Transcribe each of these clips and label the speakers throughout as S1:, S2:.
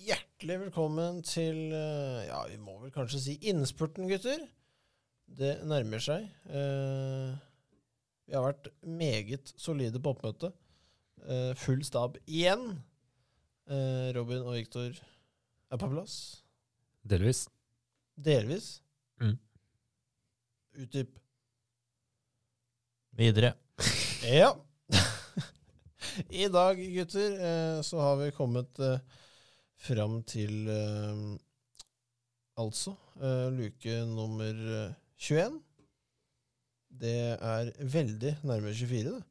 S1: Hjertelig velkommen til eh, Ja, vi må vel kanskje si innspurten, gutter. Det nærmer seg. Eh, Vi har vært meget solide på oppmøtet. Eh, Full stab igjen. Eh, Robin og Viktor er på plass.
S2: Delvis.
S1: Delvis.
S2: Mm.
S1: Utdyp.
S3: Videre.
S1: Ja. I dag, gutter, eh, så har vi kommet eh, fram til eh, altså eh, luke nummer eh, 21. Det er veldig nærme 24, det.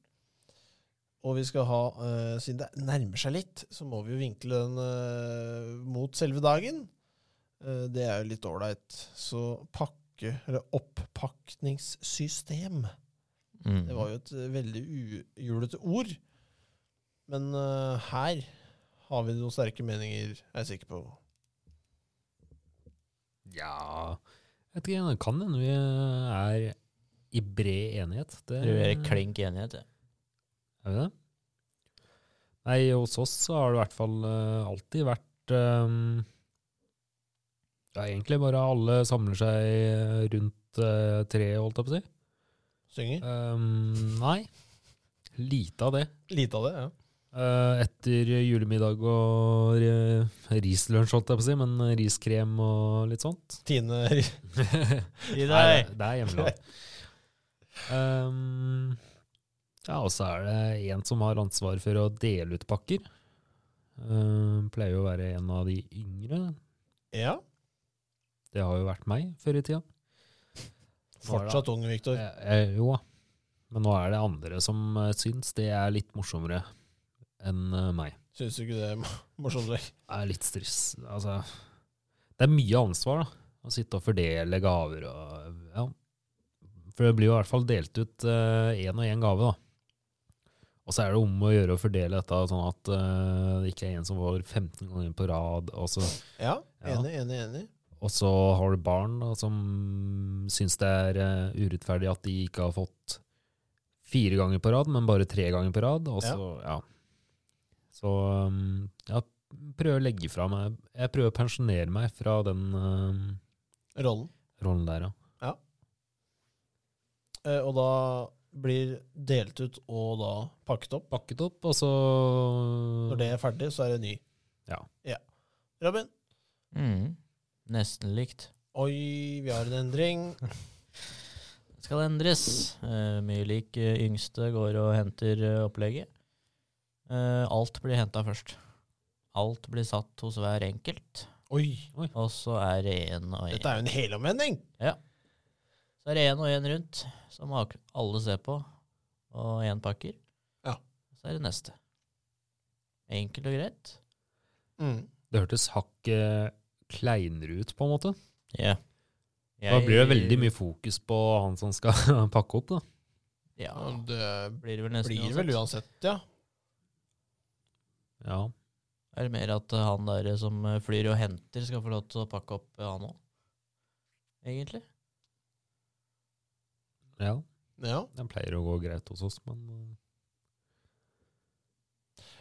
S1: Og vi skal ha, eh, siden det nærmer seg litt, så må vi jo vinkle den eh, mot selve dagen. Eh, det er jo litt ålreit. Så pakke, eller oppakningssystem.
S3: Mm.
S1: Det var jo et eh, veldig ujulete ord. Men eh, her har vi noen sterke meninger, er jeg sikker på.
S2: Ja Jeg vet ikke, det kan hende vi er i bred enighet. Det,
S3: Tror jeg er klink enighet. jeg.
S2: Er vi det? Nei, hos oss så har det i hvert fall eh, alltid vært eh, Ja, egentlig bare alle samler seg eh, rundt eh, treet, holdt jeg på å si.
S1: Synger.
S2: Eh, nei, lite av det.
S1: Lite av det, ja.
S2: Eh, etter julemiddag og eh, rislunsj, holdt jeg på å si, men riskrem og litt sånt.
S1: Tine
S2: Nei,
S3: Gi deg!
S2: det- det er hjemmelag. Um, ja, og så er det en som har ansvar for å dele ut pakker. Um, pleier jo å være en av de yngre.
S1: Ja.
S2: Det har jo vært meg før i tida. Nå er det-
S1: Fortsatt ung, Viktor.
S2: Eh, eh, jo, da. men nå er det andre som eh, syns det er litt morsommere enn eh, meg.
S1: Syns du ikke det er morsomt? Vik?
S2: Det er litt stress. Altså, det er mye ansvar, da. Å sitte og fordele gaver og Ja. For det blir jo i hvert fall delt ut én og én gave, da. Og så er det om å gjøre å fordele dette sånn at eh, det ikke er en som får 15 ganger på rad. Og så,
S1: Ja.
S2: Ja.
S1: Enig, enig, enig.
S2: og så har du barn da, som syns det er eh, urettferdig at de ikke har fått fire ganger på rad, men bare tre ganger på rad. Og så, ja. Så um, ja, prøver å legge fra meg Jeg prøver å pensjonere meg fra den eh,
S1: Rollen.
S2: rollen der, ja.
S1: Eh, og da blir delt ut og da pakket opp.
S2: Pakket opp, og så
S1: Når det er ferdig, så er det ny.
S2: Ja.
S1: Robin?
S3: Mm. Nesten likt.
S1: Oi, vi har en endring.
S3: Skal endres. Eh, mye lik eh, yngste går og henter eh, opplegget. Eh, alt blir henta først. Alt blir satt hos hver enkelt,
S1: Oi.
S3: og så er det én og én.
S1: Dette er jo en helomvending.
S3: Så er det én og én rundt, som ak- alle ser på, og én pakker.
S1: Ja.
S3: Så er det neste. Enkelt og greit.
S1: Mm.
S2: Det hørtes hakket kleinere ut, på en måte.
S3: Ja.
S2: Da blir det veldig mye fokus på han som skal pakke opp, da.
S3: Ja,
S1: Og Det
S3: blir det vel nesten
S1: blir vel uansett, ja.
S2: Ja.
S3: Er det mer at eh, han der som eh, flyr og henter, skal få lov til å pakke opp eh, han òg? Egentlig.
S2: ja.
S1: Ja.
S2: Det pleier å gå greit hos oss, men eh,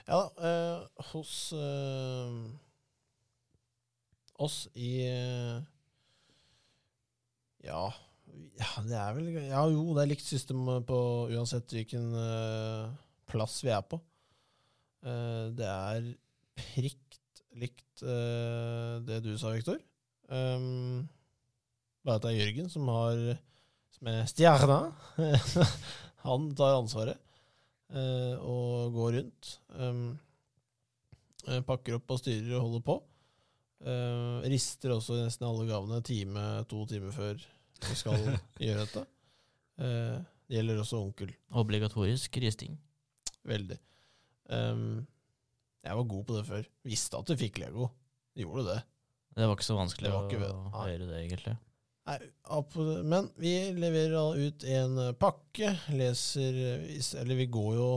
S1: Ja, eh, hos eh, oss i eh, ja, ja, det er vel Ja, jo, det er likt system på uansett hvilken eh, plass vi er på. Eh, det er prikt likt eh, det du sa, Viktor. Um, bare at det er Jørgen som har Som er stjerna. Han tar ansvaret eh, og går rundt. Um, eh, pakker opp og styrer og holder på. Eh, rister også nesten alle gavene time, to timer før vi skal gjøre dette. Eh, det gjelder også onkel.
S3: Obligatorisk risting.
S1: Veldig. Um, jeg var god på det før. Visste at du fikk Lego. Gjorde du det?
S3: Det var ikke så vanskelig
S1: Det var ikke
S3: å
S1: ved- nei.
S3: gjøre det, egentlig.
S1: Nei, ab- men vi leverer da ut en eh, pakke, leser eh, is- Eller vi går jo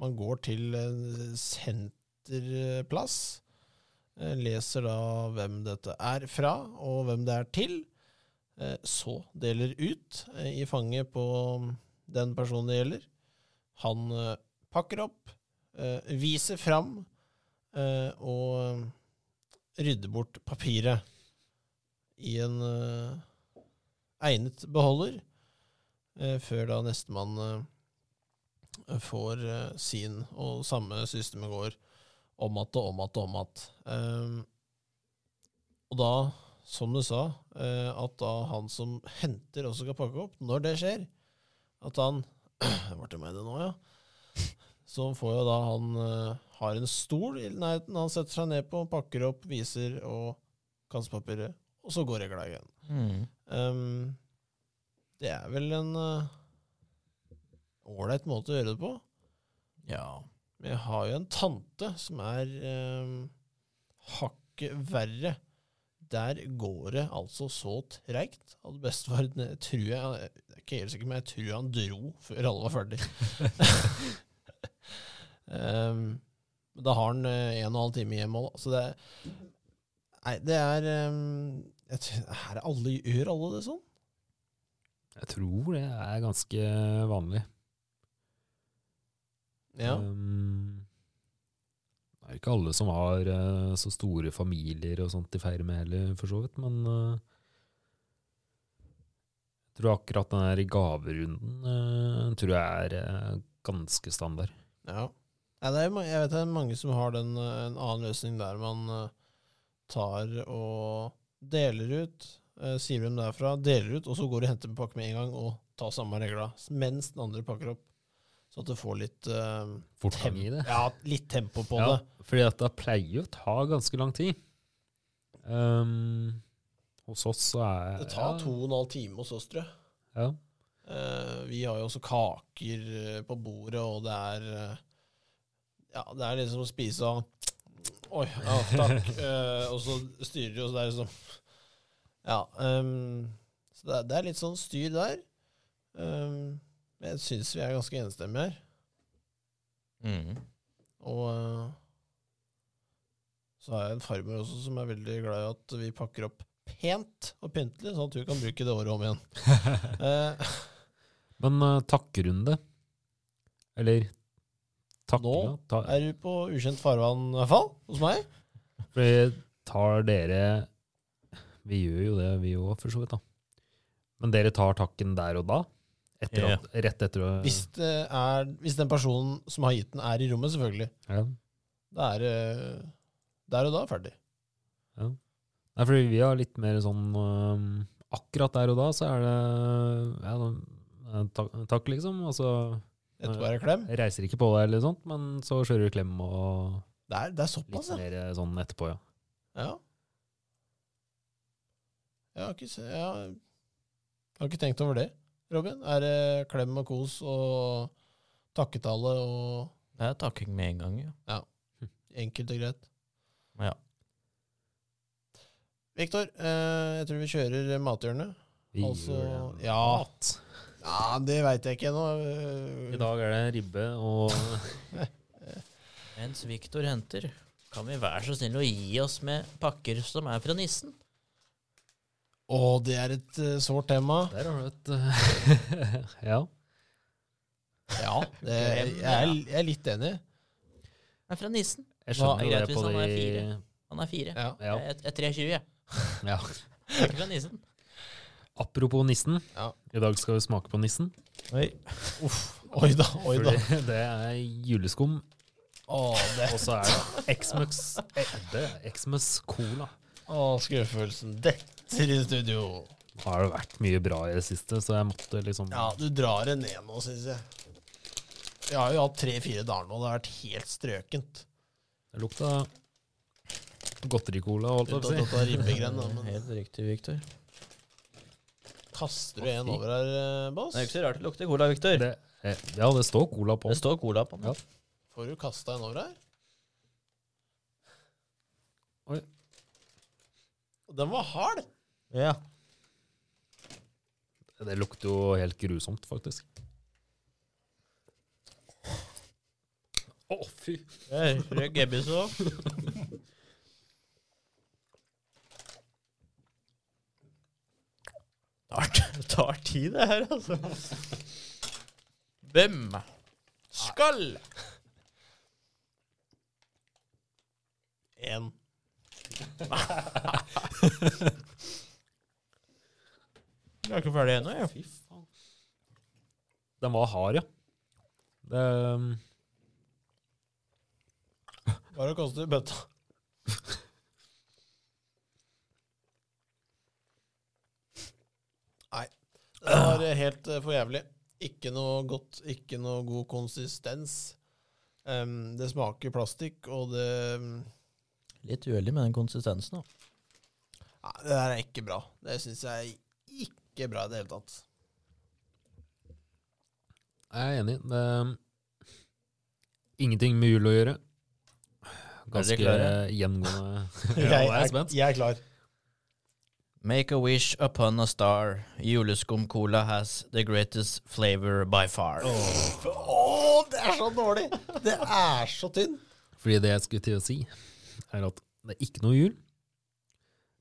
S1: Man går til en senterplass. eh, Leser da hvem dette er fra, og hvem det er til. eh, Så deler ut eh, i fanget på mm, den personen det gjelder. Han eh, pakker opp, eh, viser fram eh, og rydde bort papiret i en eh, egnet beholder, eh, før da nestemann eh, får eh, sin, og samme systemet går om att og om att og om att. Eh, og da, som du sa, eh, at da han som henter, også skal pakke opp, når det skjer, at han Det ble til meg, det nå, ja. Så får jo da han eh, har en stol i nærheten han setter seg ned på, pakker opp, viser og kassepapiret, og så går regla igjen.
S3: Mm.
S1: Ehm, det er vel en eh, ålreit måte å gjøre det på.
S3: Ja.
S1: Men jeg har jo en tante som er ehm, hakket verre. Der går det altså så treigt at bestefar ne- tror jeg jeg eh, er ikke helt sikker, men jeg tror han dro før alle var ferdig. Ehm, men da har han eh, en og en halv time hjemme òg, så det er Nei, det er ehm, jeg tror- er det alle, Gjør alle det sånn?
S2: Jeg tror det er ganske vanlig.
S1: Ja.
S2: Um, det er jo ikke alle som har eh, så store familier og sånt de feirer med heller, for så vidt, men eh, jeg tror akkurat den der gaverunden eh, tror jeg er eh, ganske standard.
S1: Ja. Nei, det er, jo ma- jeg vet det er mange som har den, eh, en annen løsning der man eh, tar og deler ut, eh, sier hvem det er fra, deler ut, og så går du og henter en pakke med en gang og tar samme regla, mens den andre pakker opp. Så at du får litt, eh,
S2: Fortgang i det.
S1: ja, litt tempo på
S2: Ja,
S1: det.
S2: fordi at det pleier å ta ganske lang tid. Um, hos oss så er
S1: Det tar
S2: Eh, ja,
S1: to og en halv time hos oss, tror jeg.
S2: Ja,
S1: Eh, vi har jo også kaker eh, på bordet, og det er eh, Ja, det er liksom å spise av Oi, ja, takk. Eh, og så styrer de, og så det er liksom Ja. ehm, så det er, det er litt sånn styr der. Ehm, men jeg syns vi er ganske enstemmige her.
S3: Mm.
S1: Og eh, så har jeg en farmor også som er veldig glad i at vi pakker opp pent og pyntelig, sånn at hun kan bruke det året om igjen. Eh,
S2: Men eh, takkerunde Eller takkinga
S1: Nå
S2: ta,
S1: er du på ukjent farvann, i hvert fall, hos meg?
S2: For tar dere Vi gjør jo det, vi òg, for så vidt. da Men dere tar takken der og da? Etter
S3: Ja.
S2: at, rett etter å
S1: Hvis, det er, hvis den personen som har gitt den, er i rommet, selvfølgelig.
S2: ja.
S1: Da er det der og da ferdig.
S2: Nei, fordi vi har litt mer sånn øhm, Akkurat der og da så er det ja, da- takk, takk, liksom. Og så
S1: Etterpå er det klem.
S2: reiser ikke på deg, eller sånt, men så kjører du klem og
S1: Det er, det er
S2: litt
S1: såpass, ja.
S2: mer sånn etterpå, ja.
S1: ja. Jeg har ikke, se- jeg har, jeg har ikke tenkt over det, Robin. Er det klem og kos og takketale og
S3: Det er takking med en gang, ja.
S1: enkelt og greit?
S3: Ja.
S1: Viktor, eh, jeg tror vi kjører mathjørnet.
S2: Vi
S1: Altså,
S2: gjør det.
S1: ja. Ja, det veit jeg ikke ennå.
S2: I dag er det ribbe og
S3: Mens Viktor henter, kan vi være så snille å gi oss med pakker som er fra nissen?
S1: Å, det er et eh, sårt tema.
S2: Der har du et Ja.
S1: Ja, det, jeg, er, jeg er litt enig.
S3: Det er fra nissen.
S2: Jeg
S3: Hva
S2: skjønner
S3: er
S2: jo
S3: greit
S2: det
S3: hvis
S2: på
S3: han er
S2: de
S3: fire? Han er fire.
S1: Ja.
S2: ja.
S3: Jeg, jeg er 23, jeg.
S2: ja.
S3: Jeg er ikke fra nissen.
S2: Apropos nissen.
S1: Ja.
S2: I dag skal vi smake på nissen.
S3: Oi.
S1: Uff, oi da, oi da.
S2: Fordi det er juleskum,
S1: Å, det,
S2: og så er det Xmus eh, Det er Xmus Cola.
S1: å skuffelsen detter i studio.
S2: Nå har det vært mye bra i det siste, så jeg måtte liksom
S1: Ja, du drar det ned nå, syns jeg. Jeg har jo hatt tre-fire dager nå, det har vært helt strøkent.
S2: Det lukta godtericola, holdt jeg
S1: Ut
S2: på å si.
S1: av ribbegren, da, men
S3: Helt riktig, Viktor.
S1: kaster du en over her, eh,
S3: Det er jo
S1: Bås?
S3: ikke så rart det lukter cola, Viktor.
S2: Det, eh, ja, det står cola på
S3: Det
S2: den.
S3: står cola på
S2: Ja.
S3: den.
S1: Får du kasta en over her?
S2: Oi.
S1: Den var hard!
S3: Ja.
S2: Det lukter jo helt grusomt, faktisk. Å, fy.
S3: Rød gebbis òg. Det tar tid, det her, altså. Hvem skal
S1: En
S3: Jeg er ikke ferdig ennå, jeg.
S1: Fy faen.
S2: Den var hard, ja. Det, um,
S1: Bare å kaste i bøtta. Nei. Det var helt eh, for jævlig. Ikke noe godt, ikke noe god konsistens. Em, det smaker plastikk, og det Nei,
S3: Litt uheldig med den konsistensen. Da.
S1: det der er ikke bra. Det syns jeg er ikke bra i det hele tatt.
S2: jeg er enig. Det, um, ingenting med jul å gjøre.
S3: Er dere
S2: Ganske
S3: klare?
S2: gjengående. ja, jeg er spent.
S1: jeg er klar.
S3: Make a wish upon a star. Juleskumcola has the greatest flavor by far.
S1: Åh, det er så dårlig! Det er så tynn.
S2: Fordi det jeg skulle til å si, er at det er ikke noe jul.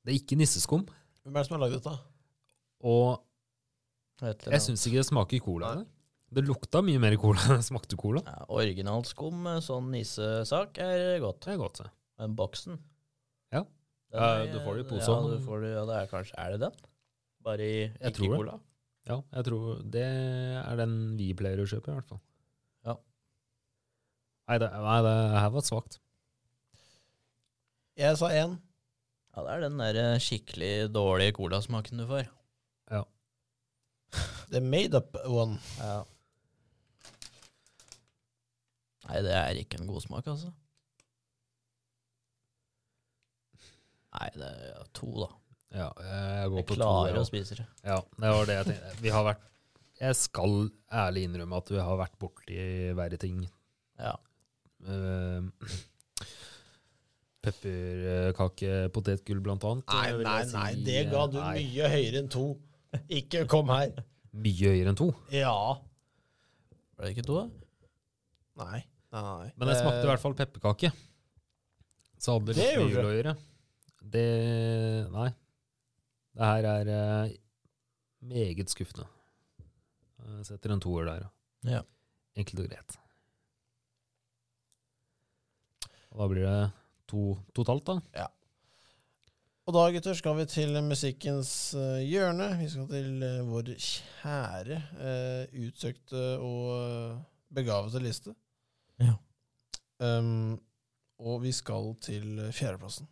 S2: Det er ikke nisseskum.
S1: Hvem er det som har lagd dette?
S2: Og
S3: Et
S2: jeg
S3: eller annet.
S2: syns ikke det smaker cola. Det. det lukta mye mer cola enn det smakte cola.
S3: Ja, originalt skum, eh, sånn nissesak, er godt.
S2: Det er godt. det.
S3: Men boksen
S2: Ja.
S3: den
S2: Ja,
S3: er-
S2: du får det i
S3: Ja,
S2: posen.
S3: du får det, ja, det er kanskje Er det den? Bare i
S2: Jeg
S3: ikke
S2: tror det.
S3: cola?
S2: Ja, jeg tror det er den vi pleier å kjøpe, i hvert fall.
S3: Ja.
S2: Nei, det, nei, det her var svakt.
S1: Jeg sa én.
S3: Ja, det er den der eh, skikkelig dårlige colasmaken du får.
S1: The made up one.
S3: Ja. Nei, det er ikke en god smak, altså. Nei, det er ja, to, da.
S2: Ja, jeg går
S3: Jeg
S2: på to.
S3: klarer
S2: ja.
S3: å spise det.
S2: Ja, det var det jeg tenkte. Vi har vært Jeg skal ærlig innrømme at vi har vært borti verre ting.
S3: Ja.
S2: Eh, Pepperkake, potetgull blant annet.
S1: Nei,
S2: vil jeg
S1: nei,
S2: si, eh,
S1: nei, det ga du
S2: nei,
S1: mye høyere enn to. Ikke kom her.
S2: Mye høyere enn to.
S1: Ja.
S3: Var det ikke to, da?
S1: Nei. nei.
S2: Men jeg smakte i hvert fall pepperkake. Så hadde det
S1: Det
S2: litt
S1: gjorde
S2: med jul å gjøre. Det Nei. Det her er eh, meget skuffende. Jeg setter en toer der.
S3: Ja.
S2: Enkelt og greit. Og da blir det to totalt, da.
S1: Og da, gutter, skal vi til musikkens eh, hjørne. Vi skal til eh, vår kjære, eh, utsøkte og eh, begavete liste.
S3: Ja.
S1: Ehm, og vi skal til eh, fjerdeplassen.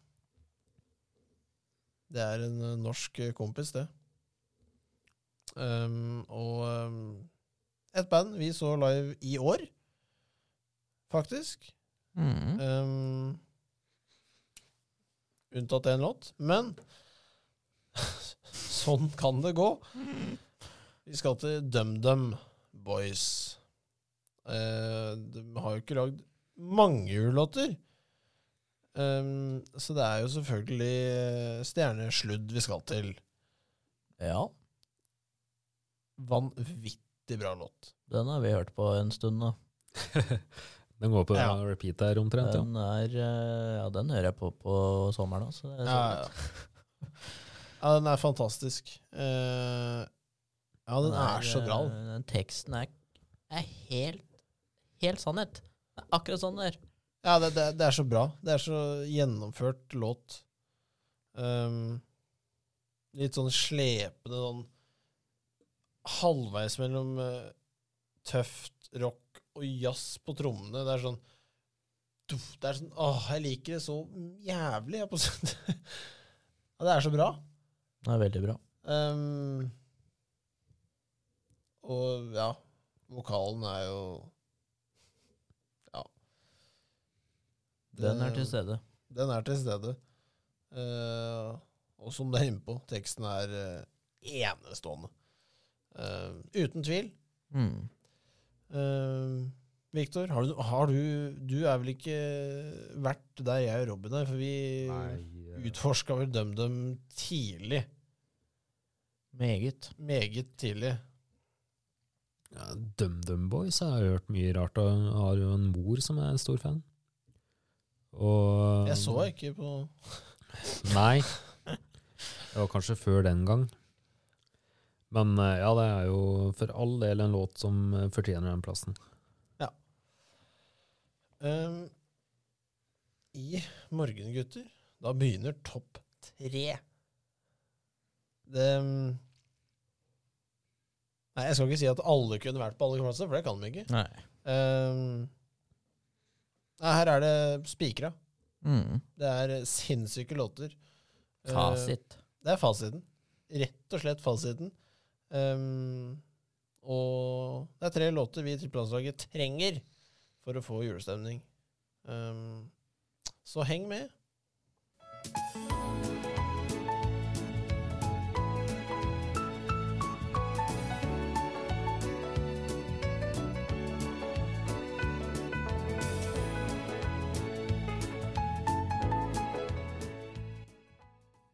S1: Det er en eh, norsk eh, kompis, det. Ehm, og ehm, et band vi så live i år, faktisk.
S3: Mm.
S1: Um, unntatt én låt. Men sånn kan det gå. Vi skal til DumDum Boys. Eh, de har jo ikke lagd mange julelåter. Um, så det er jo selvfølgelig eh, stjernesludd vi skal til.
S3: Ja,
S1: Vanvittig bra låt.
S3: den har vi hørt på en stund nå.
S2: Den går på
S1: Ja.
S2: repeat her omtrent. Ja.
S3: Den er, eh, ja, den hører jeg på på sommeren også. Det er
S1: Ja,
S3: sånn.
S1: ja. ja, den er fantastisk. Eh, ja, den er så bra. den.
S3: eh, Den teksten er, er helt, helt sannhet. Det er akkurat sånn det er.
S1: Ja, det, det, det er så bra. Det er så gjennomført låt. Ehm, litt sånn slepende, sånn halvveis mellom eh, tøft rock og jazz på trommene. Det er sånn tuff, Det er sånn Åh, jeg liker det så jævlig. Jeg på sånn. ja, det er så bra.
S3: Det er veldig bra.
S1: Ehm, og ja, vokalen er jo Ja.
S3: Den
S1: Det-
S3: er til stede.
S1: Den er til stede. Eh, og som det er inne på, teksten er eh, enestående. Eh, uten tvil.
S3: Mm.
S1: Uh, Viktor, har du, har du Du er vel ikke vært der jeg og Robin er, for vi
S2: Nei, eh,
S1: utforska vel DumDum tidlig.
S3: Meget.
S1: Meget tidlig.
S2: ja, DumDum Boys har jeg hørt mye rart av. Jeg Har jo en mor som er en stor fan. Og
S1: Jeg så
S3: Mm.
S1: ikke på
S2: Nei. Det var kanskje før den gang. Men eh, ja, det er jo for all del en låt som eh, fortjener den plassen.
S1: Ehm, I morgen, gutter, Da begynner topp tre. Det Nei, jeg skal ikke si at alle kunne vært på alle plasser, for det kan de ikke.
S3: Nei.
S1: Ehm, nei, her er det spikra.
S3: Mm.
S1: Det er sinnssyke låter. Eh,
S3: Fasit.
S1: det er fasiten. Rett og slett fasiten. Ehm, og det er tre låter vi i Trippelandslaget trenger for å få julestemning. Ehm, så heng med.